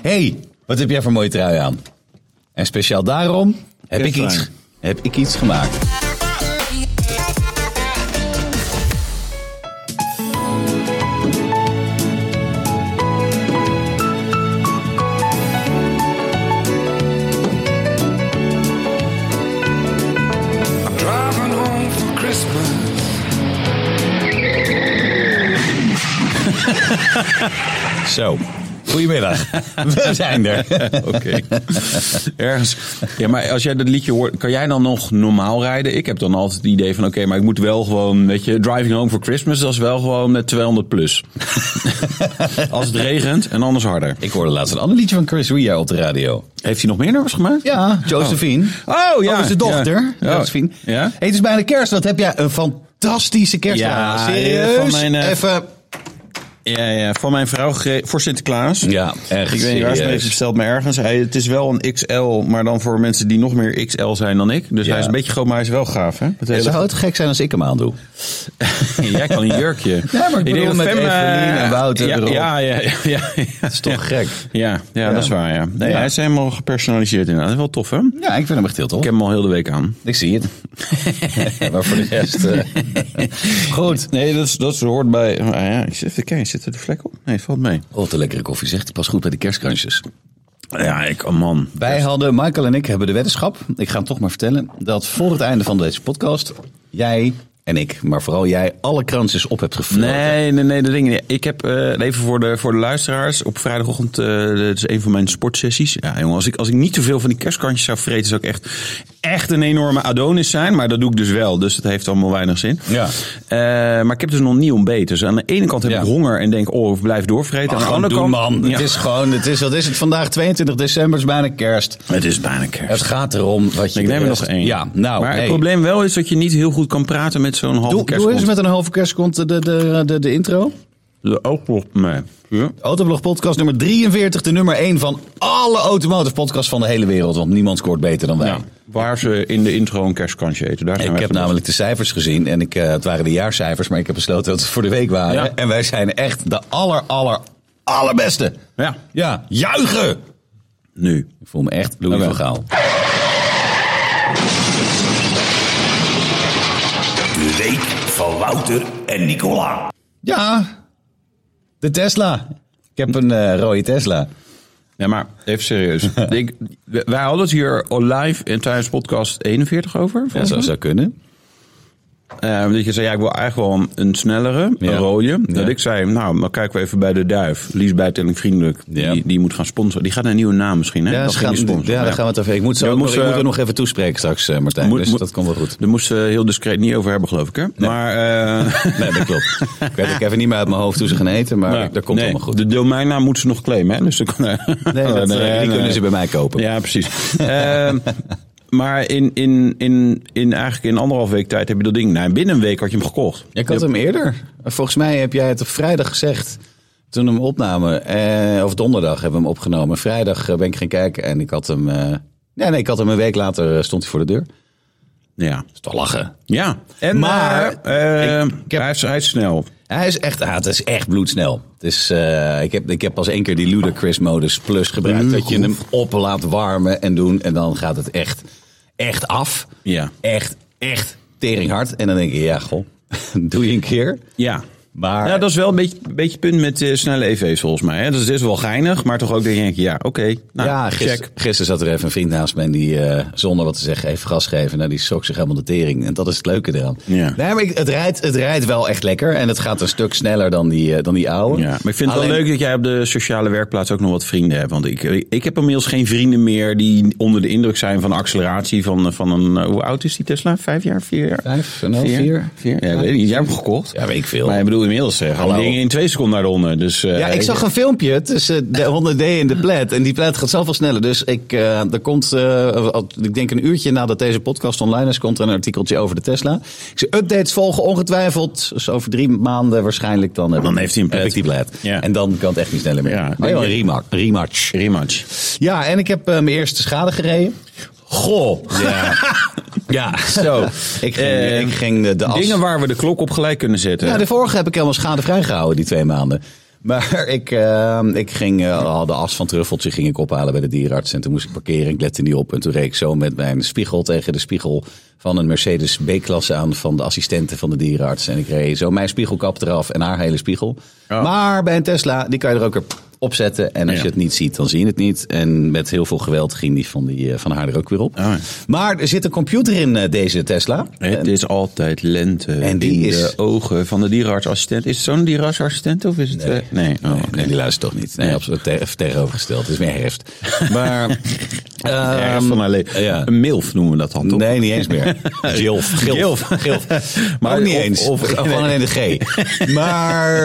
hey, wat heb jij voor mooie trui aan? En speciaal daarom heb, ik Refrein. iets, heb ik iets gemaakt. Driving home for Christmas. Zo, goedemiddag. We zijn er. Oké. Ergens. Ja, maar als jij dat liedje hoort, kan jij dan nog normaal rijden? Ik heb dan altijd het idee van, oké, maar ik moet wel gewoon, weet je, driving home for Christmas, dat is wel gewoon met 200 plus. als het regent en anders harder. Ik hoorde laatst een ander liedje van Chris Ria op de radio. Heeft hij nog meer nummers gemaakt? Ja, Josephine. Oh, ja. is de dochter. Ja. Oh. Josephine. Ja. Hey, het is bijna kerst. Wat heb jij een fantastische kerst. Ja, serieus. van mijn, eh, Even. Ja, ja, van mijn vrouw gege- voor Sinterklaas. Ja, echt Ik weet niet waar ze het serieus. heeft besteld, maar ergens. Hij, het is wel een XL, maar dan voor mensen die nog meer XL zijn dan ik. Dus Ja. hij is een beetje groot, maar hij is wel gaaf, hè? Met hele- Zou het gek zijn als ik hem aandoe? Jij kan een jurkje. Ja, bedoel met Evelien en Wouter eh, ja, erop. Ja, ja, ja, ja, ja. Dat is toch Ja. gek? Ja, ja, dat is waar, ja. Nee, Ja. Hij is helemaal gepersonaliseerd inderdaad. Dat is wel tof, hè? Ja, ik vind hem echt heel tof. Ik heb hem al heel de week aan. Ik zie het. maar voor de rest. eh, Goed. Nee, dat, is, dat is- hoort bij... Ah, ja, ik zit even kijken, zit er de vlek op? Nee, valt mee. Oh, de lekkere koffie zegt. Die past goed bij de kerstkransjes. Ja, ik, oh man. Wij hadden, Michael en ik hebben de weddenschap. Ik ga hem toch maar vertellen. Dat voor het einde van deze podcast. jij en ik, maar vooral jij, alle kransjes op hebt gefloten. Nee, nee, nee, dat ding niet. Ik heb eh, even voor de, voor de luisteraars op vrijdagochtend, eh dat is een van mijn sportsessies. Ja, jongen, als ik, als ik niet te veel van die kerstkantjes zou vreten, zou ik echt, echt een enorme Adonis zijn. Maar dat doe ik dus wel, dus dat heeft allemaal weinig zin. Ja. Eh, maar ik heb dus nog niet ontbeten. Dus aan de ene kant heb Ja. ik honger en denk, oh, ik blijf doorvreten. aan de Gewoon andere doen, kant, man. Ja. Het is gewoon, het is, wat is het vandaag? 22 december, het is bijna kerst. het is bijna Het kerst. gaat erom wat je... Ik de neem er nog rest- één. Ja, nou, maar hey. het probleem wel is dat je niet heel goed kan praten met zo'n halve Doe, doe eens kerstkont. met een halve kerstkont de, de, de, de, de intro. De oogklop, nee. Ja. Autoblog podcast nummer 43, de nummer 1 van alle automotive podcasts van de hele wereld. Want niemand scoort beter dan wij. Ja, Nou, waar ze in de intro een kerstkantje eten. Daar zijn Ik wij heb vanaf. namelijk de cijfers gezien en ik, eh, het waren de jaarcijfers, maar ik heb besloten dat het voor de week waren. Ja. En wij zijn echt de aller, aller, allerbeste. Ja. Ja, juichen! Nu. Ik voel me echt Louis van Gaal. De week van Wouter en Nicola. Ja, de Tesla. Ik heb een eh, rode Tesla. Ja, maar even serieus. ik, wij hadden het hier al live in tijdens podcast 41 over. Ja, volgens zou, mij. zou kunnen. Eh, dat je zei, ja, ik wil eigenlijk wel een, een snellere, Ja. een rode. Dat Ja. ik zei, nou, dan kijken we even bij de duif. Lies bijtelling vriendelijk. Ja. Die, die moet gaan sponsoren. Die gaat een nieuwe naam misschien, hè? Ja, dat ze ging gaan, die sponsoren. ja, daar gaan we het even. Ik moet, zo Ja, ook nog, moest, ik moet eh, er nog even toespreken straks, eh, Martijn. Moet- dus moet- dat komt wel goed. Daar moest ze heel discreet niet over hebben, geloof ik, hè? Maar... eh, Nee, dat klopt. ik weet ook even niet meer uit mijn hoofd hoe ze gaan eten, maar dat komt nee, allemaal goed. De domeinnaam moeten ze nog claimen, hè? Dus dan kan, Nee, dat, eh, die nee. kunnen ze bij mij kopen. Ja, precies. Ehm, maar in, in, in, in eigenlijk in anderhalf week tijd heb je dat ding. Nou, binnen een week had je hem gekocht. Ik had hem eerder. Volgens mij heb jij het op vrijdag gezegd. Toen we hem opnamen. Eh, of donderdag hebben we hem opgenomen. Vrijdag eh, ben ik gaan kijken en ik had hem. eh, nee, nee, ik had hem een week later eh, stond hij voor de deur. Ja. is toch lachen. Ja. En, Maar, maar eh, hij, is, hij is snel. Hij is echt, ah, het is echt bloedsnel. Het is, eh, ik, heb, ik heb pas één keer die Ludacris modus plus gebruikt. Dat je hem op laat warmen en doen. En dan gaat het echt, echt af. Ja. Echt, echt teringhard. En dan denk je, ja goh, doe je een keer. Ja. Maar Ja, dat is wel een beetje, beetje het punt met eh, snelle EV's volgens mij. Hè? Dus het is wel geinig, maar toch ook denk ik, ja, oké. nou, ja, gister, check. gisteren zat er even een vriend naast me en die eh, zonder wat te zeggen even gas geven. Nou, die sok zich helemaal de tering. En dat is het leuke eraan. Ja. Nee, maar ik- het, rijdt, het rijdt wel echt lekker en het gaat een stuk sneller dan die, eh, dan die oude. Ja, maar ik vind het Alleen- wel leuk dat jij op de sociale werkplaats ook nog wat vrienden hebt. Want ik, ik heb inmiddels geen vrienden meer die onder de indruk zijn van acceleratie van, van een... eh, Hoe oud is die Tesla? Vijf jaar? Vier jaar? Vijf, een half, vier? Vier? Ja, weet ik niet. Jij hebt hem gekocht. Ja, weet ik veel. Maar ik bedoel, inmiddels eh, gaan Hallo. die dingen in twee seconden naar de honden. Dus, eh, Ja, ik zag een filmpje tussen de 100D en de plat. En die plat gaat zoveel sneller. Dus ik, eh, er komt, eh, al- ik denk een uurtje nadat deze podcast online is, komt er een artikeltje over de Tesla. Ik zei, updates volgen ongetwijfeld. Dus over drie maanden waarschijnlijk dan, heb Dan ik- heeft hij een Plaid. heb ik die Plaid. Ja. En dan kan het echt niet sneller meer. Ja, Ja, denk een ik. rematch, rematch. Rematch. Ja, en ik heb eh, mijn eerste schade gereden. Goh. Ja. ja. Zo. Ik ging, Eh, ik ging de, de as... Dingen waar we de klok op gelijk kunnen zetten. Ja, de vorige heb ik helemaal schadevrij gehouden, die twee maanden. Maar ik, eh, ik ging, eh, de as van truffeltje ging ik ophalen bij de dierenarts. En toen moest ik parkeren. Ik lette niet op. En toen reed ik zo met mijn spiegel tegen de spiegel van een Mercedes B-klasse aan van de assistenten van de dierenarts. En ik reed zo mijn spiegelkap eraf en haar hele spiegel. Maar bij een Tesla, die kan je er ook weer opzetten. En als Ja. je het niet ziet, dan zie je het niet. En met heel veel geweld ging die van, die, eh, van haar er ook weer op. Ah. Maar er zit een computer in eh, deze Tesla. Het is altijd lente. En die in de is- ogen van de dierenartsassistent. Is het zo'n dierenartsassistent of is het... eh, Nee. Oh, oké. Nee, die luistert toch niet. Nee, absoluut te- tegenovergesteld. Het is meer herfst. Maar... Erg ehm, van haar leven. ja. Een milf noemen we dat dan toch? Nee, niet eens meer. Gilf. Gilf. Gilf. Gilf. Maar Maar ook niet of- eens. of- Of, gewoon alleen de G. Maar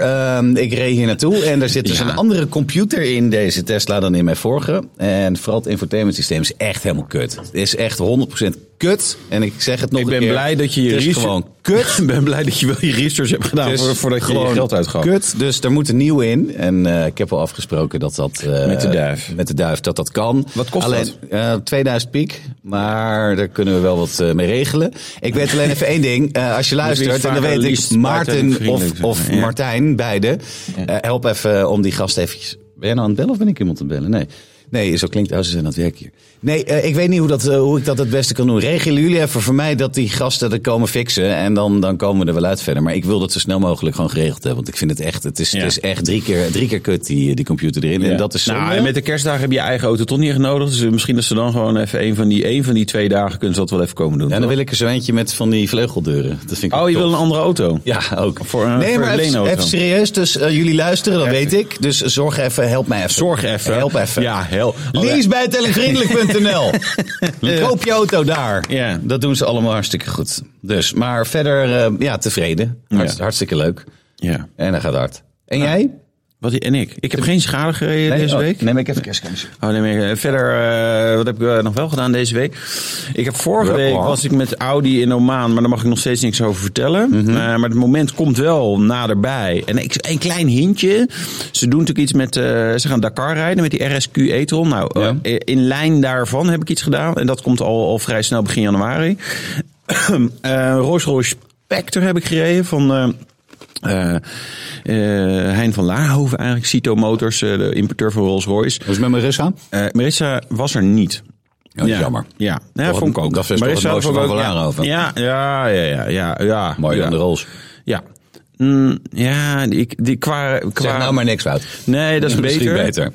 ehm, ik reed hier naartoe en er zit dus Ja. een andere computer in deze Tesla dan in mijn vorige. En vooral het infotainment systeem is echt helemaal kut. Het is echt 100% kut. En ik zeg het nog Ik een ben keer. blij dat je je Het is research... gewoon kut. Ik ben blij dat je wel je research hebt gedaan Het is voor, voordat Dus je je gewoon geld uitgaf. Kut, dus er moet een nieuw in. En eh, ik heb al afgesproken dat dat... eh, Met de duif. Met de duif, dat dat kan. Wat kost alleen, dat? eh, 2000 piek, maar daar kunnen we wel wat eh, mee regelen. Ik weet alleen even één ding. Eh, als je luistert, iets en dan Dus vaker weet liefst, ik Maarten buitenvriendelijk of, of zijn, ja. Martijn, beide. eh, help even om die gast eventjes... Ben jij nou aan het bellen of ben ik iemand aan het bellen? Nee. Nee, zo klinkt het. Oh, ze zijn aan het werk hier. Nee, eh, ik weet niet hoe, dat, eh, hoe ik dat het beste kan doen. Regelen jullie even voor mij dat die gasten er komen fixen. En dan, dan komen we er wel uit verder. Maar ik wil dat zo snel mogelijk gewoon geregeld hebben. Want ik vind het echt, het is, Ja. het is echt drie keer, drie keer kut die, die computer erin. Ja. En dat is zo. nou, en met de kerstdagen heb je je eigen auto toch niet echt nodig. Dus misschien dat ze dan gewoon even een van die, een van die twee dagen kunnen ze dat wel even komen doen. Ja, dan toch? wil ik er zo eentje met van die vleugeldeuren. Dat vind ik ook oh, je tof. wil een andere auto? Ja, ook. Voor een- nee, voor maar een even, leenauto. even serieus. Dus eh, jullie luisteren, dat weet ik. Dus zorg even, help mij even. Zorg even. Help even. Oh, Ja, hel. Lease bij televriendelijk.nl. Koop je auto daar. Ja. Dat doen ze allemaal hartstikke goed. Dus, maar verder, eh, ja, tevreden. Hartst- Ja. Hartstikke leuk. Ja. En dat gaat hard. En jij? Wat, en ik? Ik heb geen schade gereden Nee, deze oh, week. Neem ik even kerstkansje. Oh, nee, maar, eh, verder, eh, wat heb ik eh, nog wel gedaan deze week? Ik heb vorige Wel, week hoor. was ik met Audi in Omaan, maar daar mag ik nog steeds niks over vertellen. Eh, maar het moment komt wel naderbij. En ik, een klein hintje. Ze doen natuurlijk iets met, eh, ze gaan Dakar rijden met die RSQ e-tron. Nou, eh, eh, in lijn daarvan heb ik iets gedaan. En dat komt al, al vrij snel begin januari. Eh Rolls Royce Spectre heb ik gereden van... eh, eh, eh, Hein van Laarhoven eigenlijk, Cito Motors, eh, de importeur van Rolls-Royce. Hoe is het met mijn rust aan? Eh, Marissa was er niet. Oh, jammer. Ja, ja Toch vond ik het- ook. Oh, dat is toch Marissa het mooiste vond ik van ook- Vlaanderen Ja, ja, ja, ja, ja. ja Mooi ja. aan de rols. Ja. Mm, ja, die, die, qua... qua Zeg nou maar niks, Wout. Nee, dat is Misschien beter. beter.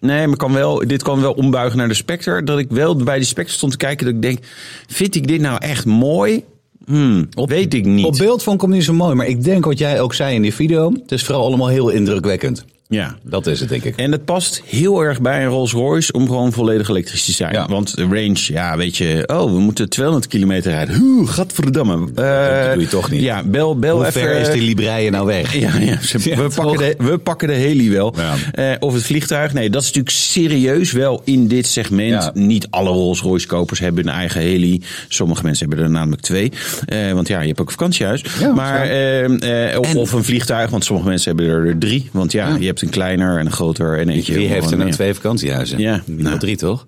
Nee, maar kan wel, dit kan wel ombuigen naar de Spectre. Dat ik wel bij die Spectre stond te kijken dat ik denk... Vind ik dit nou echt mooi? Hmm, weet ik niet. Op beeld vond ik hem niet zo mooi, maar ik denk wat jij ook zei in die video. Het is vooral allemaal heel indrukwekkend. ja. Dat is het, denk ik. En het past heel erg bij een Rolls-Royce om gewoon volledig elektrisch te zijn. Ja. Want de range, ja, weet je, oh, we moeten 200 kilometer rijden. Hoe, gadverdamme. Eh, dat doe je toch niet. Ja, bel, bel Hoe even. ver is die Libreye nou weg? ja, ja, ze- Ja, we, toch? pakken de, we pakken de heli wel. Ja. Eh, of het vliegtuig. Nee, dat is natuurlijk serieus wel in dit segment. Ja. Niet alle Rolls-Royce kopers hebben een eigen heli. Sommige mensen hebben er namelijk twee. Eh, want ja, je hebt ook een vakantiehuis. Ja, maar, eh, eh, of, of een vliegtuig, want sommige mensen hebben er drie. Want ja, je hebt een kleiner en een groter en eentje. Wie heeft er gewoon, nou ja. twee vakantiehuizen? Ja. Minimaal Nou. drie, toch?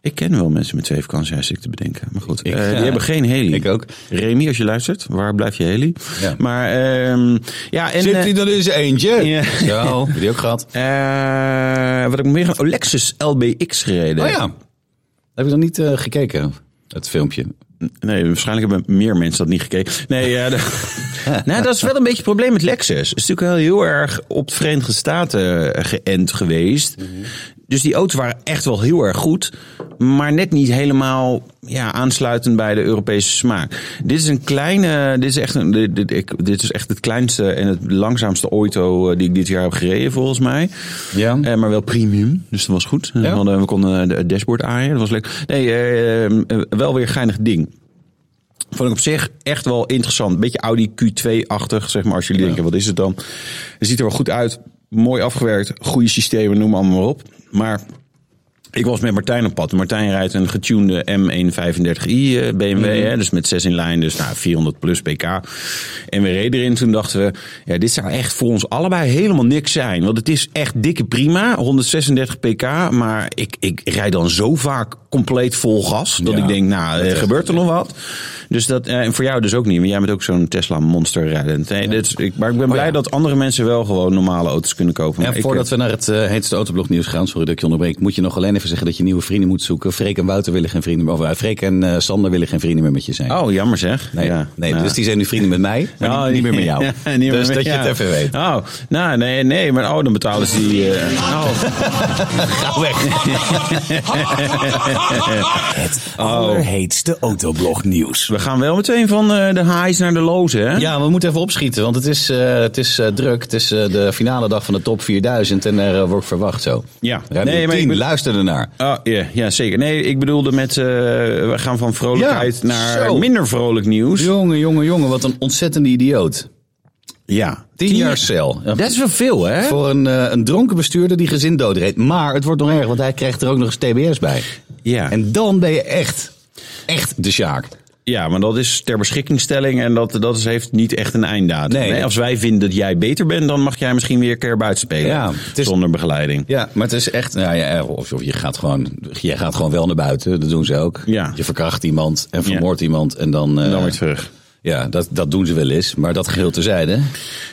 Ik ken wel mensen met twee vakantiehuizen, ik te bedenken. Maar goed, eh, ja. die hebben geen heli. Ik ook. Remy, als je luistert, waar blijf je heli? Ja. Maar ehm, ja, en... Zit eh, hij dan in zijn eentje? Ja. Zo, heb je die ook gehad? Eh, wat heb ik meer gedaan? Oh, Lexus LBX gereden. Oh ja. Heb je dan niet eh, gekeken, het filmpje? Nee, waarschijnlijk hebben meer mensen dat niet gekeken. Nee, ja, de- nou, dat is wel een beetje het probleem met Lexus. Het is natuurlijk wel heel erg op de Verenigde Staten eh, geënt geweest. Mhm. Dus die auto's waren echt wel heel erg goed. Maar net niet helemaal ja, aansluitend bij de Europese smaak. Dit is een kleine. Dit is echt, een, dit, dit- ik- dit is echt het kleinste en het langzaamste auto eh, die ik dit jaar heb gereden, volgens mij. Ja. Eh, maar wel premium, dus dat was goed. We, hadden, we konden eh, het dashboard aaien, dat was leuk. Nee, eh, eh, wel weer een geinig ding. Vond ik op zich echt wel interessant. Beetje Audi Q2-achtig, zeg maar. Als jullie denken, wat is het dan? Het ziet er wel goed uit. Mooi afgewerkt. Goede systemen, noem allemaal maar op. Maar Ik was met Martijn op pad. Martijn rijdt een getunede M135i eh, BMW. Mhm. Hè, dus met 6 in lijn, dus nou, 400 plus pk. En we reden erin. Toen dachten we, ja, dit zou echt voor ons allebei helemaal niks zijn. Want het is echt dikke prima, 136 pk. Maar ik, ik rijd dan zo vaak compleet vol gas. Dat Ja, ik denk, nou, eh, gebeurt er nog wat? Dus dat, eh, en voor jou dus ook niet. Want jij bent ook zo'n Tesla monster rijdend. hè. Dit is- ik, maar ik ben blij dat andere mensen wel gewoon normale auto's kunnen kopen. Maar En ik, Oh voordat eh, we naar het eh, heetste autoblognieuws gaan, sorry dat ik je onderbreek, moet je nog alleen even zeggen dat je nieuwe vrienden moet zoeken. Freek en Wouter willen geen vrienden meer, of eh, Freek en eh, Sander willen geen vrienden meer met je zijn. Oh, jammer zeg. Nee, ja. nee Ja. dus die zijn nu vrienden met mij, maar Oh, niet, niet meer met jou. ja, niet meer dus met dat je jou. het even weet. Oh, nou, nee, nee, maar oh, dan betalen ze die... eh, oh, Ga weg. Het allerheetste autoblog nieuws. we gaan wel meteen van eh, de highs naar de lows, hè? Ja, we moeten even opschieten, want het is, eh, het is eh, druk. Het is eh, de finale dag van de top 4000 en er eh, wordt verwacht zo. Ja. Radio Nee, maar ik 10, ben- luister ernaar. Oh, ja, ja, zeker. Nee, ik bedoelde met... eh, we gaan van vrolijkheid Ja, naar zo. minder vrolijk nieuws. Jongen, jongen, jongen, wat een ontzettende idioot. Ja. Tien jaar cel. Dat is wel veel, hè? Voor een, eh, een dronken bestuurder die gezin doodreed. Maar het wordt nog erg, want hij krijgt er ook nog eens TBS bij. Ja. En dan ben je echt, echt de Sjaak. Ja, maar dat is ter beschikkingstelling en dat, dat is, heeft niet echt een einddatum. Nee. Als wij vinden dat jij beter bent, dan mag jij misschien weer een keer buiten spelen. Ja, het is- Zonder begeleiding. Ja, maar het is echt, nou ja, of, of je, gaat gewoon, je gaat gewoon wel naar buiten, dat doen ze ook. Ja. Je verkracht iemand en vermoordt iemand en dan... eh, Dan weer terug. Ja, dat, dat doen ze wel eens, maar dat geheel terzijde.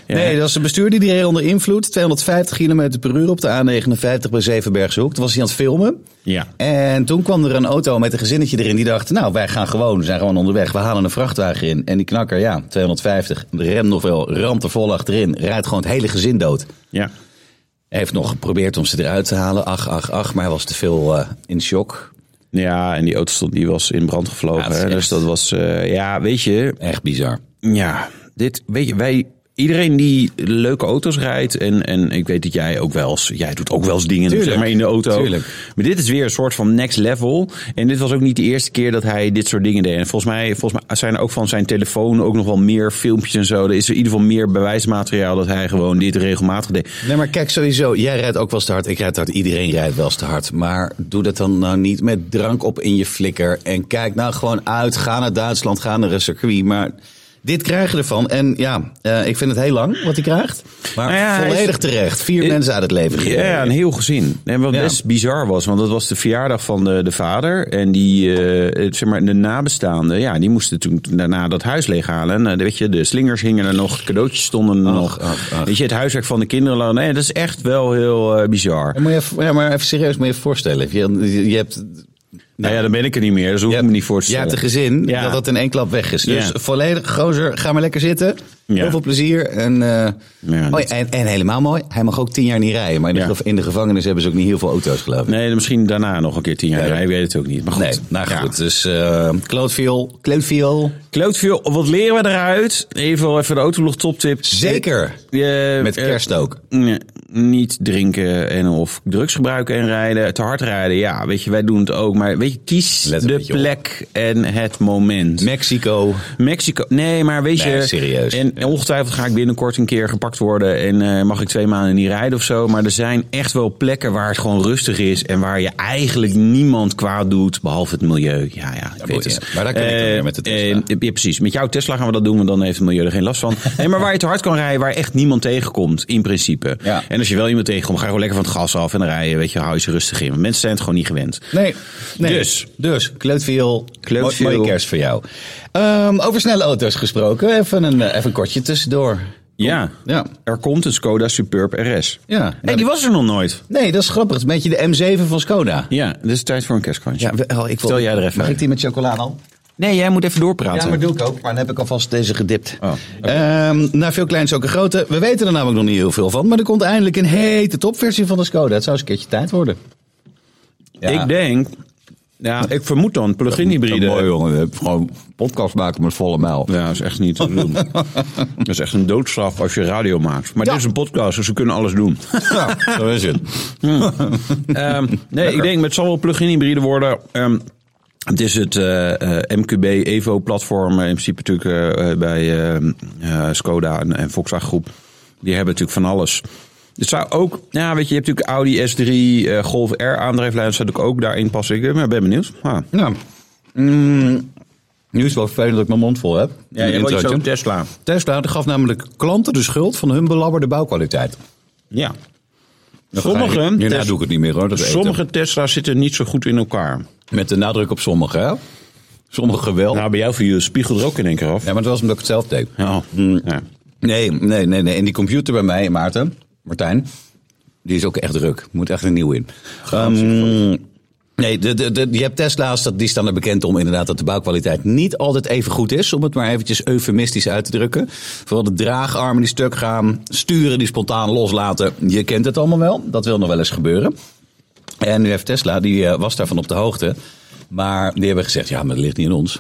Ja. Nee, dat was een bestuurder die reed onder invloed. 250 km per uur op de A59 bij Zevenbergse Hoek. Toen was hij aan het filmen. Ja. En toen kwam er een auto met een gezinnetje erin. Die dacht, nou, wij gaan gewoon, we zijn gewoon onderweg. We halen een vrachtwagen in. En die knakker, ja, 250. Rem nog wel, ramt er vol achterin. Rijdt gewoon het hele gezin dood. Ja. Hij heeft nog geprobeerd om ze eruit te halen. Ach, ach, ach. Maar hij was te veel eh, in shock. Ja, en die auto stond, die was in brand gevlogen. Ja, dat is hè? echt- Dus dat was, eh, ja, weet je, Echt bizar. ja, dit, weet je, wij, iedereen die leuke auto's rijdt en, en ik weet dat jij ook wel eens, jij doet ook wel eens dingen Tuurlijk, zeg maar in de auto. tuurlijk. Maar dit is weer een soort van next level. En dit was ook niet de eerste keer dat hij dit soort dingen deed. En volgens mij, volgens mij zijn er ook van zijn telefoon ook nog wel meer filmpjes en zo. Er is in ieder geval meer bewijsmateriaal dat hij gewoon dit regelmatig deed. Nee, maar kijk, sowieso. Jij rijdt ook wel eens te hard. Ik rijd te hard. Iedereen rijdt wel eens te hard. Maar doe dat dan nou niet met drank op in je flikker. En kijk nou gewoon uit. Ga naar Duitsland. Ga naar een circuit. Maar dit krijg je ervan. En ja, eh, ik vind het heel lang wat hij krijgt. Maar Nou ja, hij is- Eh, volledig terecht. Vier mensen uit het leven gereden. Ja, een heel gezin. En wat Ja. best bizar was, want dat was de verjaardag van de, de vader. En die, eh, het, zeg maar, de nabestaanden, ja, die moesten toen daarna dat huis leeghalen. En, eh, weet je, de slingers hingen er nog, cadeautjes stonden er nog. ach, ach. Weet je, het huiswerk van de kinderen. lag- Nee, dat is echt wel heel eh, bizar. Ja, maar, even, ja, maar even serieus, moet je even voorstellen. Je, je- je hebt, Nou ja, dan ben ik er niet meer, dus hoef je ik hebt- me niet voor te je stellen. hebt een gezin Ja. dat dat in één klap weg is. Dus Ja. volledig, gozer, ga maar lekker zitten. Heel veel plezier. En, eh, oh ja, dat- en, en helemaal mooi, hij mag ook tien jaar niet rijden. Maar in de, Ja. gev- in de gevangenis hebben ze ook niet heel veel auto's geloof ik. Nee, dan misschien daarna nog een keer tien jaar. Ja. Ja, ik weet het ook niet. Maar goed. Nee, nou Ja. goed. Dus eh Cloudviool, Cloudviool, Klootviool, wat leren we eruit? Even, even de autolog toptip. zeker. Eh, Met eh, kerst ook. Nee, niet drinken en of drugs gebruiken en rijden. Te hard rijden, ja, weet je, wij doen het ook. Maar weet je, kies Let een de beetje op. plek en het moment. Mexico. Mexico, nee, maar weet Nee, je... serieus. En ongetwijfeld ga ik binnenkort een keer gepakt worden... en eh, mag ik twee maanden niet rijden of zo. Maar er zijn echt wel plekken waar het gewoon rustig is... en waar je eigenlijk niemand kwaad doet, behalve het milieu. Ja, ja, ik weet boeit, het. ja. Maar daar kan ik dan Eh, weer met de Tesla. eh, ja, precies. Met jouw Tesla gaan we dat doen, want dan heeft het milieu er geen last van. Nee, maar waar je te hard kan rijden, waar echt niemand tegenkomt, in principe. Ja. En als je wel iemand tegenkomt, ga gewoon lekker van het gas af... en dan rij je, weet je, hou je ze rustig in. Want Mensen zijn het gewoon niet gewend. Nee, nee. Dus. Dus, Cloudviool, Kleutviool. mooi- mooie kerst voor jou. Ehm, over snelle auto's gesproken, even een, eh, even een kortje tussendoor. Ja. Ja. Er komt een Skoda Superb RS. Ja. Hé, hey, die was er nog nooit. Nee, dat is grappig. Het is een beetje de M7 van Skoda. Ja, dus is tijd voor een kerstkrantje. Stel jij er even Mag uit. ik die met chocola al? Nee, jij moet even doorpraten. Ja, maar doe ik ook. Maar dan heb ik alvast deze gedipt. Oh, Oh, oké. nou, veel kleins ook een grote. We weten er namelijk nog niet heel veel van. Maar er komt eindelijk een hete topversie van de Skoda. Het zou eens een keertje tijd worden. Ik denk... Ja, ik vermoed dan plug-in hybride. jongen. gewoon podcast maken met volle mijl. Ja, dat is echt niet te doen. dat is echt een doodstraf als je radio maakt. Maar Ja. dit is een podcast, dus we kunnen alles doen. Ja, zo is het. Ehm, nee, ik denk, het zal wel plug-in hybride worden. Ehm, het is het eh, eh, MQB Evo-platform, eh, in principe natuurlijk eh, eh, bij eh, eh, Skoda en, en Volkswagen Groep. Die hebben natuurlijk van alles. Het zou ook, ja, weet je, je hebt natuurlijk Audi S3, eh, Golf R aandrijflijn. Dat zou ik ook daarin passen. Ik eh, ben benieuwd. Ah. Nou, mm, nu is het wel vervelend dat ik mijn mond vol heb. Ja, Een je wil iets introotje. over Tesla. Tesla gaf namelijk klanten de schuld van hun belabberde bouwkwaliteit. Ja. Ga Sommige, ik- Hierna Tes- doe ik het niet meer hoor. Dat eten. sommige Tesla's zitten niet zo goed in elkaar. Met de nadruk op sommige, hè? Sommige wel. Nou, bij jou viel je spiegel er ook in één keer af. Ja, maar het was omdat ik het zelf deed. Ja. Ja. Nee, nee, nee, nee. En die computer bij mij, Maarten, Martijn, die is ook echt druk. Moet echt een nieuw in. Ehm, nee, de, de, de, je hebt Tesla's, dat, die staan er bekend om inderdaad dat de bouwkwaliteit niet altijd even goed is. Om het maar eventjes eufemistisch uit te drukken. Vooral de draagarmen die stuk gaan, sturen die spontaan loslaten. Je kent het allemaal wel, dat wil nog wel eens gebeuren. En nu heeft Tesla, die eh, was daarvan op de hoogte. Maar die hebben gezegd, ja, maar dat ligt niet in ons.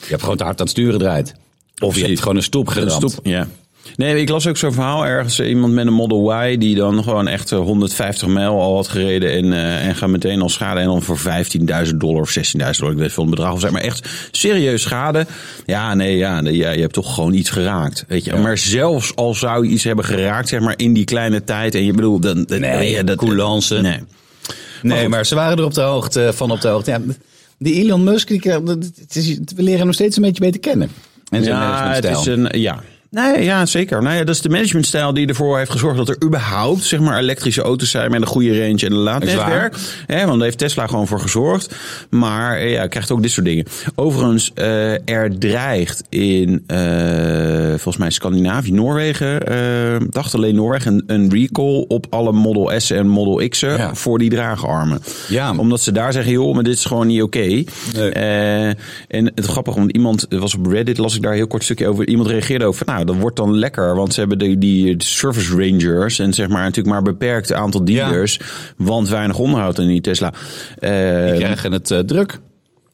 Je hebt gewoon te hard aan het sturen draait. Of je hebt Precies. gewoon een stoep geramd. Stoep, ja. Nee, ik las ook zo'n verhaal ergens. eh, Iemand met een Model Y die dan gewoon echt eh, 150 mijl al had gereden. En, eh, en gaat meteen al schade. En dan voor 15.000 dollar of 16.000 dollar. Ik weet veel het bedrag of zeg maar echt serieus schade. Ja, nee, ja, nee, ja, je hebt toch gewoon iets geraakt. Weet je. Maar zelfs al zou je iets hebben geraakt, zeg maar in die kleine tijd. En je bedoelt, dan, dan- Nee, ja, dat, coulance. Nee. Nee, maar, ze waren er op de hoogte, van op de hoogte. Ja, die Elon Musk, die, krijgt- dat- het is, we leren hem steeds een beetje beter kennen. En zijn Ja, het managementstijl. is een, ja. Nee, ja, zeker. Nou ja, dat is de managementstijl die ervoor heeft gezorgd dat er überhaupt zeg maar, elektrische auto's zijn met een goede range en een laad Is waar. netwerk. Hè, want daar heeft Tesla gewoon voor gezorgd. Maar eh, ja, je krijgt ook dit soort dingen. Overigens, eh, er dreigt in eh, volgens mij Scandinavië, Noorwegen, eh dacht alleen Noorwegen, een, een recall op alle Model S en Model X'en Ja. voor die draagarmen. Ja. Omdat ze daar zeggen, joh, maar dit is gewoon niet oké. Nee. Eh, en het grappige, want iemand er was op Reddit, las ik daar een heel kort stukje over. Iemand reageerde over, van, nou, dat wordt dan lekker, want ze hebben die, die service rangers en zeg maar natuurlijk maar een beperkt aantal dealers, want weinig onderhoud in die Tesla. Eh, Die krijgen het eh, druk.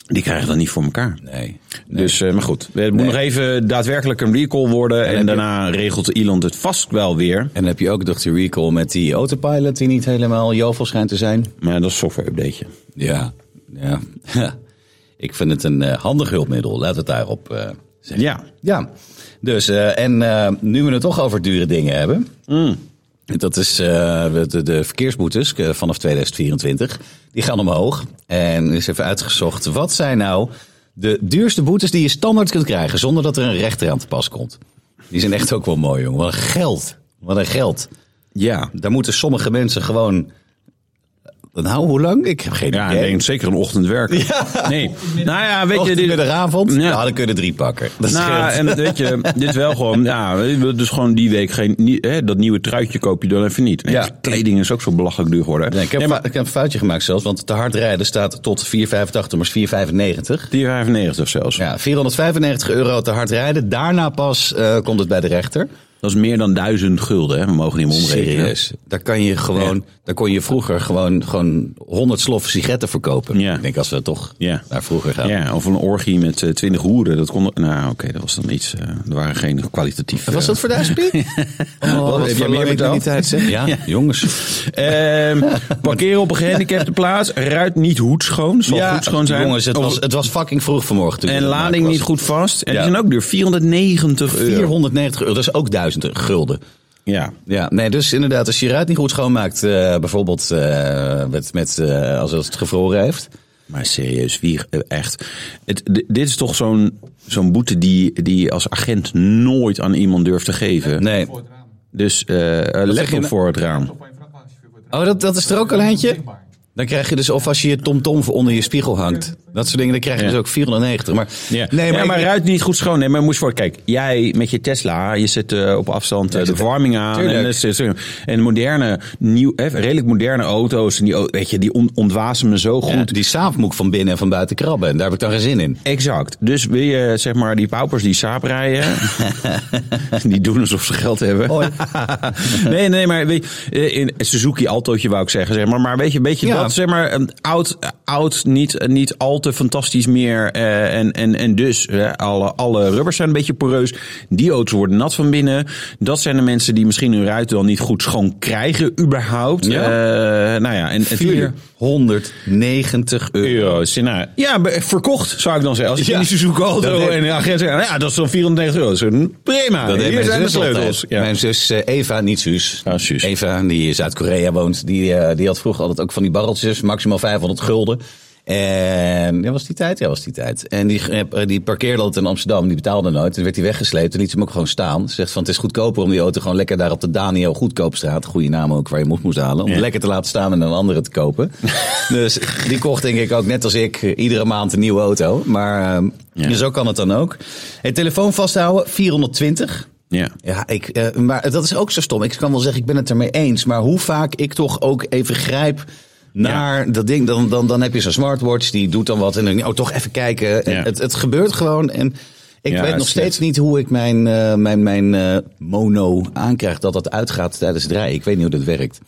die krijgen dat niet voor elkaar. Nee. Dus, eh, maar goed, het moet Nee. nog even daadwerkelijk een recall worden en, heb je- daarna regelt Elon het vast wel weer. En dan heb je ook nog die recall met die autopilot die niet helemaal jovel schijnt te zijn. Maar dat is een software updateje. Ja, ja. Ik vind het een eh, handig hulpmiddel, laat het daarop eh, zeggen. Ja. Ja, dus eh, en eh, nu we het toch over dure dingen hebben. Mm. Dat is eh, de, de verkeersboetes eh, vanaf 2024. Die gaan omhoog. En er is even uitgezocht, wat zijn nou de duurste boetes die je standaard kunt krijgen zonder dat er een rechter aan te pas komt? Die zijn echt ook wel mooi, jongen. Wat een geld. Wat een geld. Ja. Daar moeten sommige mensen gewoon. Nou, hoe lang? Ik heb geen Ja, ik idee. denk zeker een ochtend werken. Nee. Nou ja, weet je, Ochtend, dit, middagavond? Ja. Ja. Nou, dan kunnen drie pakken. Dat Nou, scheelt. en weet je, dit wel gewoon, ja, we willen dus gewoon die week geen, nie- hè, dat nieuwe truitje koop je dan even niet. Nee, Ja. Kleding is ook zo belachelijk duur geworden. Nee, ik, heb Nee, maar fa- ik heb een foutje gemaakt zelfs, want te hard rijden staat tot 4,85, maar is 4,95. 4,95 zelfs. Ja, 495 euro te hard rijden. Daarna pas eh, komt het bij de rechter. Dat is meer dan 1000 gulden, hè. we mogen niet meer omrekenen. Daar kan je gewoon, daar kon je vroeger gewoon, gewoon 100 sloffen sigaretten verkopen. Ja. Ik denk als we toch Ja. naar vroeger gaan. Ja, of een orgie met eh, 20 hoeren, dat kon, nou oké, dat was dan iets, eh, er waren geen kwalitatief. eh, Wat was dat voor duizend piek? Oh, heb jij voor meer betaald? liquiditeit, zeg. Ja, jongens. Ehm, parkeren op een gehandicapte plaats, ruit niet hoedschoon, zal goed schoon zijn. jongens, het Of- was, het was fucking vroeg vanmorgen. toen ik en het aan het lading maken niet was. goed vast. En Ja. die zijn ook duur, 490 euro. 490 euro, dat is ook duizend gulden. Ja. Ja, nee, dus inderdaad, als je je ruit niet goed schoonmaakt, eh, bijvoorbeeld eh, met, met, eh, als het gevroren heeft. Maar serieus, wie eh, echt? Het, d- dit is toch zo'n zo'n boete die, die je als agent nooit aan iemand durft te geven. Nee. Dus eh eh, zeg leg je hem nou? voor het raam. Oh, dat, dat is er ook al eentje? Dan krijg je dus, of als je je tomtom voor onder je spiegel hangt. Dat soort dingen, dan krijg je Ja. dus ook 490. Maar, Ja. Nee, maar, ik- ruit niet goed schoon. Nee, maar moest voor. Kijk, jij met je Tesla, je zet eh, op afstand eh, de verwarming aan. Tuurlijk. En, dat is- en moderne, nieuw, eh, redelijk moderne auto's, en die, o- weet je, die on- ontwazen me zo goed. Ja, die saap moet ik van binnen en van buiten krabben. En daar heb ik dan geen zin in. Exact. Dus wil je zeg maar die paupers die saap rijden, die doen alsof ze geld hebben. Hoi. nee, eh, nee, maar weet je, in een Suzuki Altootje wou ik zeggen, zeg maar, maar weet je, een beetje Ja. dat zeg maar een oud, eh, oud, niet, niet al te fantastisch meer. eh, en, en, en dus, hè, alle, alle rubbers zijn een beetje poreus. Die auto's worden nat van binnen. Dat zijn de mensen die misschien hun ruiten dan niet goed schoon krijgen, überhaupt. Ja. Eh, nou ja, en, en hier- 490 euro. euro's. Nou, ja, be- verkocht zou ik dan zeggen. Als ik Ja. in die Suzuki Dat auto heeft- en de agent zegt, nou ja, dat is dan 34 euro. Dat is een- prima, Dat deed hier mijn zijn de zus altijd. sleutels. Ja. Mijn zus eh, Eva, niet Suus. Ah, Suus. Eva, die in Zuid-Korea woont, die, eh, die had vroeger altijd ook van die barreltjes, maximaal 500 gulden. En ja, was die tijd? Ja, was die tijd. En die, eh, die parkeerde altijd in Amsterdam, die betaalde nooit. Toen werd hij weggesleept en liet ze hem ook gewoon staan. Ze zegt van, het is goedkoper om die auto gewoon lekker daar op de Daniel Goedkoopstraat, goede naam ook, waar je hem op moest halen, om Ja. lekker te laten staan en een andere te kopen. dus die kocht denk ik ook, net als ik, eh, iedere maand een nieuwe auto. Maar ehm, Ja. zo kan het dan ook. Het telefoon vasthouden, 420. Ja. Ja, ik, eh, maar dat is ook zo stom. Ik kan wel zeggen, ik ben het ermee eens. Maar hoe vaak ik toch ook even grijp naar dat ding. Dan, dan, dan heb je zo'n smartwatch, die doet dan wat. En dan, oh, toch even kijken. En Het, het gebeurt gewoon. En ik Ja, weet nog is net- steeds niet hoe ik mijn, eh, mijn, mijn eh, mono aankrijg. Dat dat uitgaat tijdens het rijden. Ik weet niet hoe dat werkt.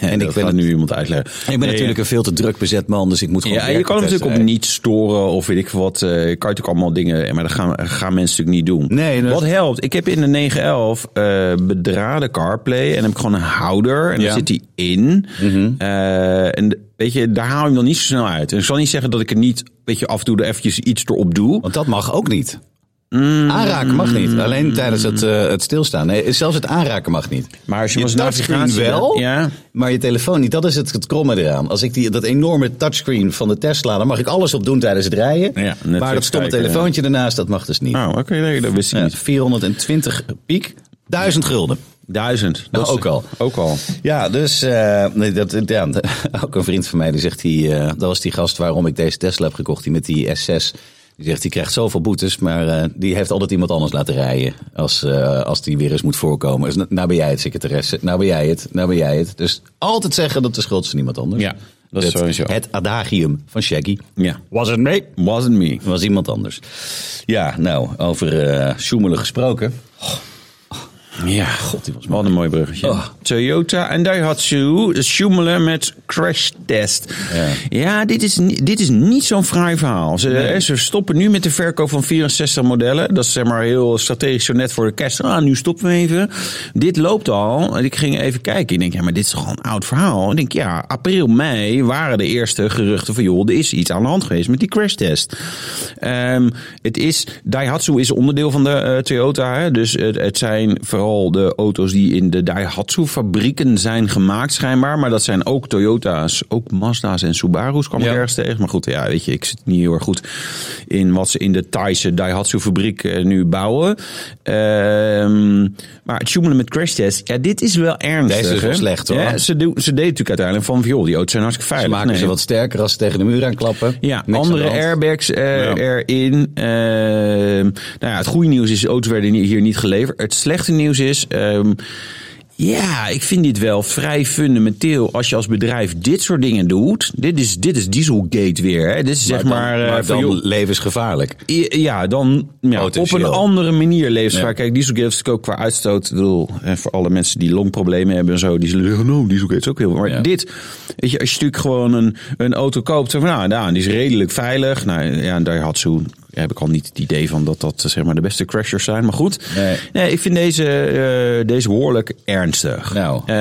en dat ik ben, gaat nu... nu iemand uitleggen. ik ben natuurlijk een veel te druk bezet man. Dus ik moet gewoon Ja, je werken kan hem tijdens het natuurlijk op rijden. niet storen of weet ik veel wat. eh, kan je natuurlijk allemaal dingen, maar dat gaan, gaan mensen natuurlijk niet doen. Nee, dat- Wat helpt? Ik heb in de 911 eh bedraden CarPlay en dan heb ik gewoon een houder en Ja. daar zit die in. Eh, en weet je, daar haal je hem dan niet zo snel uit. En ik zal niet zeggen dat ik er niet, weet je, af en toe er eventjes iets erop doe. Want dat mag ook niet. Aanraken mag niet. Alleen tijdens het, eh, het stilstaan. Nee, zelfs het aanraken mag niet. Maar als je, hem Je als touchscreen navigatie- wel, Ja. maar je telefoon niet. Dat is het, het kromme eraan. Als ik die, dat enorme touchscreen van de Tesla... daar mag ik alles op doen tijdens het rijden. Netflix maar dat stomme kijken, telefoontje ernaast, dat mag dus niet. Nou, oké, nee, dat wist ik Ja, niet. 420 piek, 1000 gulden. Duizend. Dat Nou, ook al. Ook al. Ja, dus eh, nee, dat, ja, ook een vriend van mij die zegt, die, eh, dat was die gast waarom ik deze Tesla heb gekocht, die met die S6. Die zegt, die krijgt zoveel boetes, maar eh, die heeft altijd iemand anders laten rijden als, eh, als die weer eens moet voorkomen. Dus, "Nou, nou ben jij het, secretaresse, nou ben jij het, nou ben jij het. Dus altijd zeggen dat de schuld is van iemand anders. Ja, dat is het, sowieso. Het adagium van Shaggy. Ja. Was het mee? Wasn't me. was iemand anders. Ja, nou, over eh sjoemelen gesproken. Ja, God, die was Wat een mooi bruggetje. Oh. Toyota en Daihatsu sjoemelen met crash test. Ja. Ja, dit, is, ni- dit is niet zo'n fraai verhaal. Ze, eh, ze stoppen nu met de verkoop van 64 modellen. Dat is zeg maar heel strategisch zo net voor de kerst. Ah, nu stoppen we even. Dit loopt al. En Ik ging even kijken. Ik denk, ja, maar dit is toch al een oud verhaal? Ik denk, ja, april, mei waren de eerste geruchten van... joh, er is iets aan de hand geweest met die crash test. Ehm, het is, Daihatsu is onderdeel van de eh, Toyota. Hè? Dus het, het zijn vooral de auto's die in de Daihatsu-fabrieken zijn gemaakt, schijnbaar. Maar dat zijn ook Toyota's, ook Mazda's en Subaru's kwam ik Ja. ergens tegen. Maar goed, ja, weet je, ik zit niet heel erg goed in wat ze in de Thaise Daihatsu-fabriek eh, nu bouwen. Ehm, maar het joemelen met crashtest, ja, dit is wel ernstig. Deze is wel hè? slecht, hoor. Ja, ze, doen- ze deden natuurlijk uiteindelijk van, joh, die auto's zijn hartstikke Ze veilig. maken ze Nee. wat sterker als ze tegen de muur aanklappen. Ja, Niks aan de andere hand. airbags eh, Ja. erin. Ehm, nou ja, het goede nieuws is, de auto's werden ni- hier niet geleverd. Het slechte nieuws is, ehm, ja, ik vind dit wel vrij fundamenteel. Als je als bedrijf dit soort dingen doet, dit is, dit is Dieselgate weer. Hè. Dit is zeg dan- maar, eh, maar van, dan joh, levensgevaarlijk. I- Ja, dan ja, op Potentieel. een andere manier levensgevaar. Ja. Kijk, dieselgate is natuurlijk ook qua uitstoot. Ik bedoel, eh, voor alle mensen die longproblemen hebben en zo. Die zullen zeggen, nou, dieselgate is ook heel... Maar Ja. dit, weet je, als je natuurlijk gewoon een, een auto koopt. Van, nou, nou, die is redelijk veilig. Nou ja, daar had zo'n... Heb ik al niet het idee van dat dat eh, zeg maar de beste crashers zijn. Maar goed, Nee. ik vind deze, eh, deze behoorlijk ernstig. Nou. Ehm,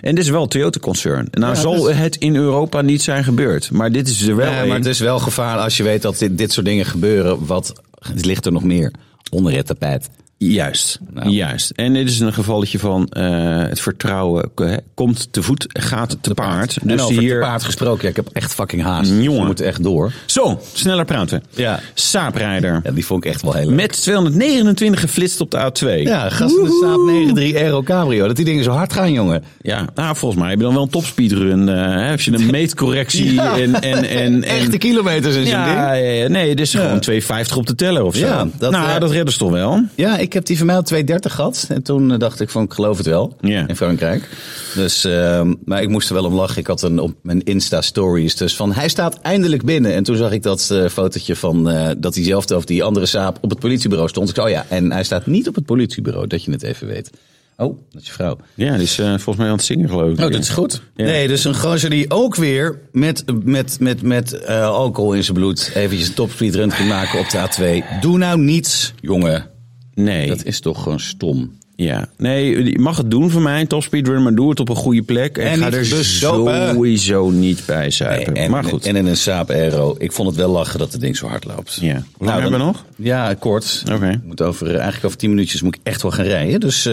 en dit is wel een Toyota-concern. Nou, Ja, zal dus- het in Europa niet zijn gebeurd. Maar dit is er wel Ja, maar een. het is wel gevaar als je weet dat dit, dit soort dingen gebeuren. Wat het ligt er nog meer onder het tapijt? Juist, Nou. juist. En dit is een gevalletje van eh, het vertrouwen eh, komt te voet, gaat te, paard. Dus Dus en over hier... hier... paard gesproken, ja, ik heb echt fucking haast. Jongen. We moeten echt door. Zo, sneller praten. Ja. Saaprijder. Ja, die vond ik echt wel heel leuk. Met 229 geflitst op de A2. Ja, gasten de Saab 93 Aero Cabrio. Dat die dingen zo hard gaan, jongen. Ja, nou, volgens mij heb je dan wel een topspeedrun. eh, hè, als je een meetcorrectie Ja. en... en, en, en Echte kilometers in zo'n ding. ja, ja, ja, nee, dus gewoon 250 op de teller of zo. Ja, dat, nou, eh, dat redden ze toch wel. Ja, ik heb die van mij op 230 gehad. En toen eh, dacht ik van, ik geloof het wel. Ja. In Frankrijk. Dus, ehm, maar ik moest er wel om lachen. Ik had een, op mijn Insta-stories dus van, hij staat eindelijk binnen. En toen zag ik dat eh, fotootje van eh, dat hij zelf of die andere saap op het politiebureau stond. Ik zei, oh ja, en hij staat niet op het politiebureau, dat je het even weet. Oh, dat is je vrouw. Ja, die is eh, volgens mij aan het zingen, geloof ik. Oh, dat is goed. Ja. Nee, dus een gozer die ook weer met, met, met, met eh, alcohol in zijn bloed eventjes een topspeed run kan maken op de A2. Doe nou niets, jongen. Nee. Dat is toch gewoon stom. Ja, nee, je mag het doen voor mij, een topspeedrun, maar doe het op een goede plek. En, En ga niet er bezopen. sowieso niet bij Nee, zuipen. en, maar goed. en in een Saab Aero. Ik vond het wel lachen dat het ding zo hard loopt. Nou, Ja. Hoe lang hebben we nog? Ja, kort. Oké. Ik Moet over, eh, eigenlijk over tien minuutjes moet ik echt wel gaan rijden. Dus eh,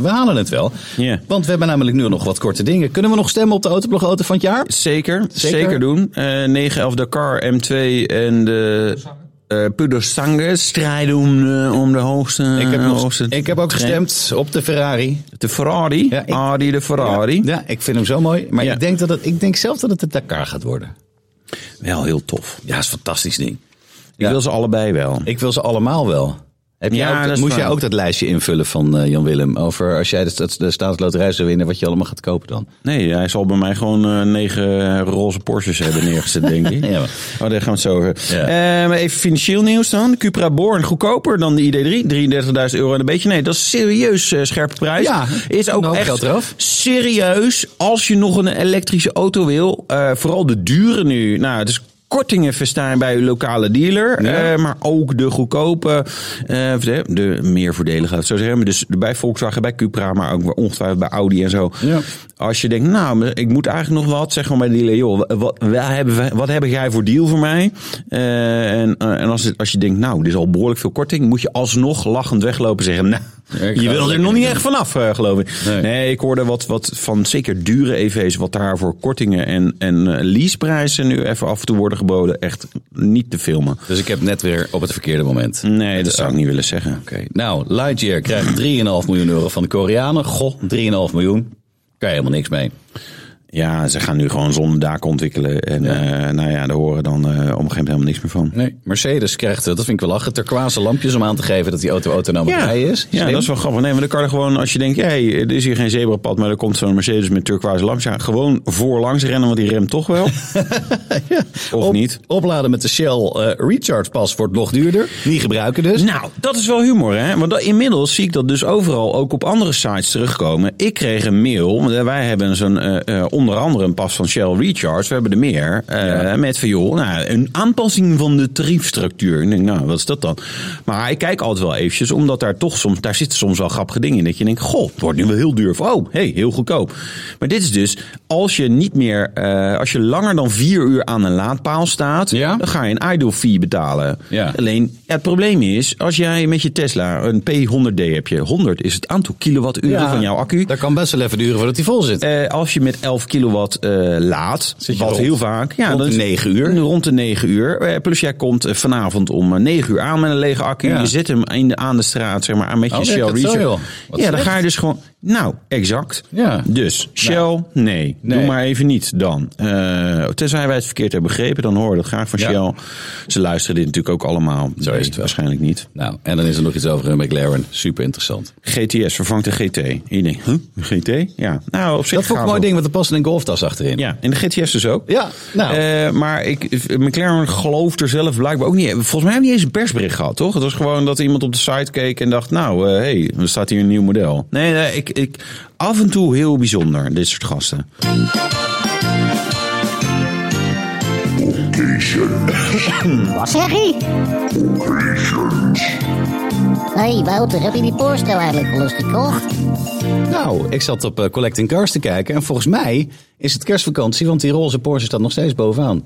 we halen het wel. Ja. Want we hebben namelijk nu nog wat korte dingen. Kunnen we nog stemmen op de Autoblog Auto van het jaar? zeker, zeker, Zeker? doen. Eh 911 Dakar, M2 en de eh Pudersange strijden om, de- om de hoogste. eh, Ik heb, nog- hoogste ik heb ook trein. gestemd op de Ferrari. De Ferrari, Ja, ik- Audi de Ferrari. Ja, ik vind hem zo mooi. Maar Ja. ik, denk dat het, ik denk zelf dat het de Dakar gaat worden. Wel heel tof. Ja, is een fantastisch ding. Ik wil ze allebei wel. Ik wil ze allemaal wel. Heb Ja, jij ook, dat is moest waar. jij ook dat lijstje invullen van eh, Jan Willem? Over als jij de, staats- de staatsloterij zou winnen, wat je allemaal gaat kopen dan? Nee, hij zal bij mij gewoon eh, negen roze Porsches hebben neergezet, denk ik. Ja, maar- Oh, daar gaan we het zo over. Ja. Eh, maar even financieel nieuws dan. De Cupra Born goedkoper dan de ID3. 33.000 euro en een beetje. Nee, dat is serieus eh, scherpe prijs. Ja, is een ook hoop echt geld eraf. serieus. Als je nog een elektrische auto wil, eh, vooral de dure nu. Nou, het is kortingen festijn bij uw lokale dealer. Ja. Eh, maar ook de goedkope, eh, de, de meer voordelige, laat ik het zo zeggen. Maar Dus bij Volkswagen, bij Cupra, maar ook ongetwijfeld bij Audi en zo. Ja. Als je denkt, nou, maar ik moet eigenlijk nog wat, zeg gewoon bij de dealer, joh, wat, wat, hebben, wij- wat heb jij voor deal voor mij? Eh, en eh, en als, het- als je denkt, nou, dit is al behoorlijk veel korting, moet je alsnog lachend weglopen en zeggen, nou, Ja, ik je ga wil er lekker nog niet doen. echt vanaf, eh, geloof ik. Nee. Nee. ik hoorde wat, wat van zeker dure EV's, wat daar voor kortingen en, en eh, leaseprijzen nu even af en toe worden geboden, echt niet te filmen. Dus ik heb net weer op het verkeerde moment. Nee, dat zou ik niet willen zeggen. Oké, nou, Lightyear krijgt 3,5 miljoen euro van de Koreanen. Goh, 3,5 miljoen. Kan je helemaal niks mee. Ja, ze gaan nu gewoon zonnedaken ontwikkelen. En eh, nou ja, daar horen dan eh, op een gegeven moment helemaal niks meer van. Nee. Mercedes krijgt, eh, dat vind ik wel lachen, turquoise lampjes om aan te geven dat die auto autonoom rijden is. ja, Slim. dat is wel grappig. Nee, maar dan kan er gewoon, als je denkt, hé, hey, er is hier geen zebrapad, maar er komt zo'n Mercedes met turquoise langs. Ja, gewoon voorlangs rennen, want die remt toch wel. Of Op- niet. Opladen met de Shell eh Recharge Pas wordt nog duurder. Niet gebruiken dus. Nou, dat is wel humor, hè? Want dat- inmiddels zie ik dat dus overal ook op andere sites terugkomen. Ik kreeg een mail. want Wij hebben zo'n, eh, eh, onder andere een pas van Shell Recharge. We hebben er meer. eh, Met van, joh, nou, een aanpassing van de tariefstructuur. En ik denk, nou, wat is dat dan? Maar ik kijk altijd wel eventjes, omdat daar toch soms, daar zitten soms wel grappige dingen in. Dat je denkt, goh, het wordt nu wel heel duur. Of, oh, hey, heel goedkoop. Maar dit is dus, als je niet meer, eh, als je langer dan vier uur aan een laadpaal staat, Ja. dan ga je een idle fee betalen. Ja. Alleen, ja, het probleem is, als jij met je Tesla een P100D heb je, 100 is het aantal kilowatturen Ja, van jouw accu. Dat kan best wel even duren voordat hij vol zit. Eh, als je met 11 kilowatt eh, laat, Zit je wat rond- heel vaak. Ja, rond dan de is- Mm, 9 uur. Rond de 9 uur. Eh, plus jij komt eh, vanavond om eh, 9 uur aan met een lege accu. Ja. Je zet hem in de, aan de straat, zeg maar, aan met je Oh, Shell werkt dat zo, Recharge. joh? Ja, Wat dan slecht. ga je dus gewoon... Nou, exact. Ja. Nou. Dus, Shell, nee. Doe Nee. maar even niet dan. Eh, tenzij wij het verkeerd hebben begrepen, dan horen we dat graag van Ja. Shell. Ze luisteren dit natuurlijk ook allemaal. Zo is het wel. Waarschijnlijk niet. Nou, en dan is er nog iets over een McLaren. Super interessant. GTS vervangt de GT. En je denkt, huh, een GT? Ja. Nou, op zich Dat vond ik gaaf een mooi wel. ding, want er past een golftas achterin. Ja, en de GTS dus ook. Ja, nou. Eh, maar ik, McLaren gelooft er zelf blijkbaar ook niet. in. Volgens mij hebben we niet eens een persbericht gehad, toch? Het was gewoon dat iemand op de site keek en dacht... nou, hé, hey, er staat hier een nieuw model. Nee, nee ik, ik, af en toe heel bijzonder, dit soort gasten. Wat zeg je? Hé, hey, Wouter, heb je die Porsche nou eigenlijk wel eens gekocht? Nou, ik zat op eh, Collecting Cars te kijken. En volgens mij is het kerstvakantie, want die roze Porsche staat nog steeds bovenaan.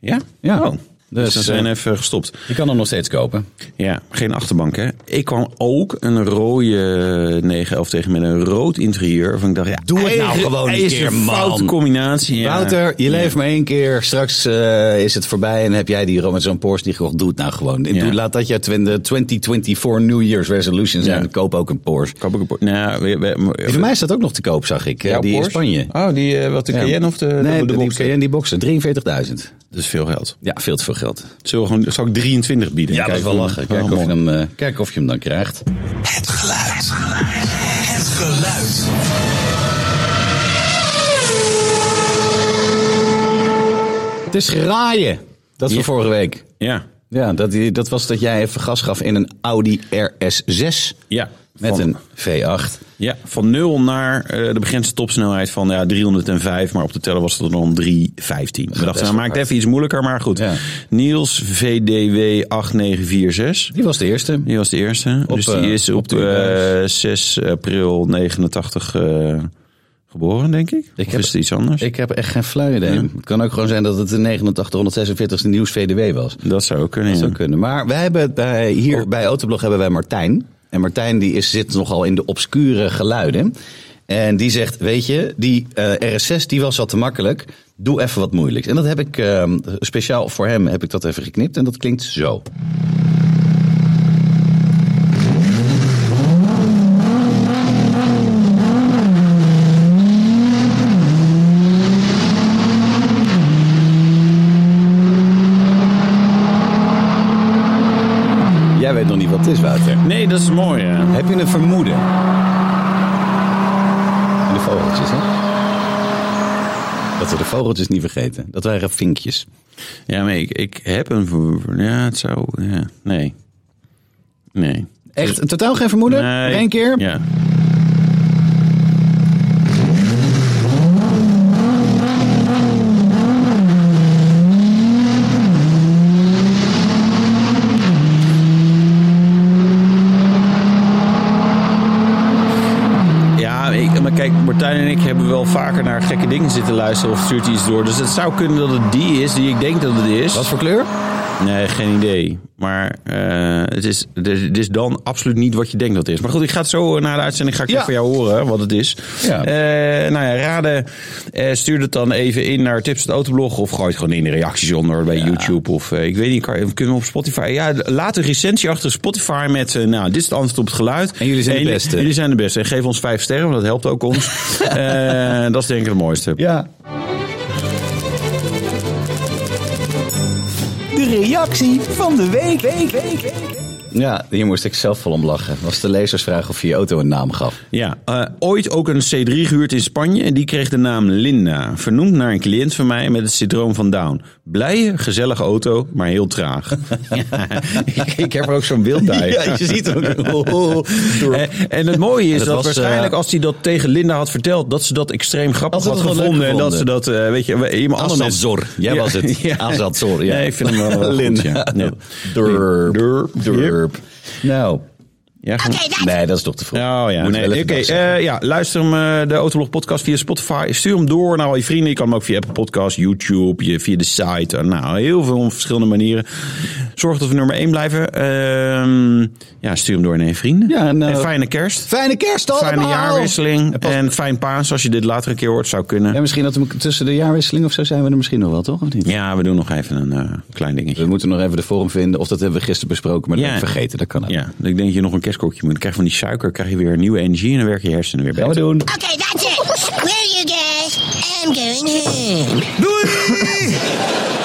Ja? Ja. Oh, dus, Dus, we zijn eh, even gestopt. Je kan hem nog steeds kopen. Ja, geen achterbank, hè? Ik kwam ook een rode 911 tegen met een rood interieur. Van ik dacht, ja, Doe het nou eigenlijk gewoon een is keer, een man. foute combinatie. ja. Wouter, je leeft maar één keer. Straks eh, is het voorbij en heb jij die met zo'n Porsche die gewoon doet nou gewoon. Doe, laat dat je twin- de 2024 New Year's resolution zijn. Ja. Koop ook een Porsche. Koop ik een Porsche? Nou, we, we- Die van mij staat ook nog te koop, zag ik. eh, Jouw die in Porsche? Spanje. Oh, die, eh, wat, de Ja. Cayenne of de, nee, de, de, de die Boxster? Cayenne, die boxer. 43.000. Dat is veel geld. Ja, veel te veel geld. Zullen we gewoon, zal ik 23 bieden? Ja, dat is wel hoe- lachen. oh, Kijk of, je man. hem, eh, kijk of je hem dan krijgt. Het geluid. Het geluid. Het is graaien. Dat Ja. van vorige week. Ja. Ja, dat, dat was dat jij even gas gaf in een Audi RS6. Ja. Met Van- een V8. Ja, van 0 naar eh, de begrensde topsnelheid van ja, 305, maar op de teller was het dan 315. We wel dachten, nou maak het hard. even iets moeilijker, maar goed. Ja. Niels VDW 8946. Die was de eerste. Die was de eerste. Op, dus die eh, is op op, de- eh, 6 april 89 eh, geboren, denk ik. Ik of heb- is het iets anders? Ik heb echt geen flauw idee. Het kan ook gewoon zijn dat het de 8946 e nieuws VDW was. dat zou ook kunnen. Dat zou ja. kunnen. Maar wij hebben het bij, hier Oh. bij Autoblog hebben wij Martijn. En Martijn die is, zit nogal in de obscure geluiden. En die zegt, weet je, die eh, RS6 die was wat te makkelijk. Doe even wat moeilijks. En dat heb ik eh, speciaal voor hem heb ik dat even geknipt. En dat klinkt zo. Jij weet nog niet wat het is, Wouter. Nee, dat is mooi. Ja. Heb je een vermoeden? En de vogeltjes, hè? Dat we de vogeltjes niet vergeten. Dat waren vinkjes. Ja, maar ik, ik heb een... ver- Ja, het zou... Ja, nee. Nee. Echt, totaal geen vermoeden? Nee. Eén keer? Ja. Ja, ik- maar kijk, Martijn en ik hebben wel vaker naar gekke dingen zitten luisteren of stuurt hij iets door. Dus het zou kunnen dat het die is die ik denk dat het is. Wat voor kleur? Nee, geen idee. Maar eh, het, is, het, is, het is dan absoluut niet wat je denkt dat het is. Maar goed, ik ga het zo eh, na de uitzending ga ik Ja. even van jou horen wat het is. Ja. Eh, nou ja, raden. eh, stuur het dan even in naar Tips het Autoblog. Of gooi het gewoon in de reacties onder bij YouTube. Of eh, ik weet niet, kan, kunnen we op Spotify? Ja, laat een recensie achter Spotify met, eh, nou, dit is het antwoord op het geluid. En jullie zijn de beste. Jullie zijn de beste. En geef ons vijf sterren, want dat helpt ook ons. Eh, dat is denk ik het mooiste. Ja. De reactie van de week. Ja, hier moest ik zelf vol om lachen. Was de lezersvraag of je je auto een naam gaf. Ja, eh, ooit ook een C3 gehuurd in Spanje en die kreeg de naam Linda. Vernoemd naar een cliënt van mij met het syndroom van Down. Blije, gezellige auto, maar heel traag. ik, ik heb er ook zo'n beeld bij. Ja, je ziet ook. Oh, oh. En, en het mooie is Dat dat, was, waarschijnlijk eh, als hij dat tegen Linda had verteld, dat ze dat extreem grappig Had ze dat had wel leuk gevonden, En dat ze gevonden. dat, eh, weet je, iemand anders... Asad Zor. Jij was het. Asad Zor, ja. Nee, ik vind hem wel, wel goed, ja. Linda. Ja. Durp. Durp. Durp. Nou, Ja, gewoon- nee, dat is toch te vroeg. Oh ja, Moet nee, wel even oké. dag zeggen. eh, ja, luister hem, eh, de Autoblog podcast via Spotify. Stuur hem door naar al je vrienden. Je kan hem ook via Apple Podcasts, YouTube, je, via de site. Eh, nou, heel veel verschillende manieren. Zorg dat we nummer 1 blijven. Ehm, ja, stuur hem door naar je vrienden. Ja, en, eh, en fijne kerst. Fijne kerst allemaal! Fijne jaarwisseling. En pas- En fijn paas, als je dit later een keer hoort, zou Ja, kunnen. misschien dat we tussen de jaarwisseling of zo zijn we er misschien nog wel, toch? Of niet? Ja, we doen nog even een eh, klein dingetje. We moeten nog even de vorm vinden. Of dat hebben we gisteren besproken, maar dat Ja. heb ik vergeten. Dat kan ook. Ja, ik denk dat je nog een kerstkokje moet. Dan krijg je van die suiker, krijg je weer een nieuwe energie en dan werken je hersenen weer Gaan we beter. doen. Okay, that's it. Where are you guys? I'm going home. Doei!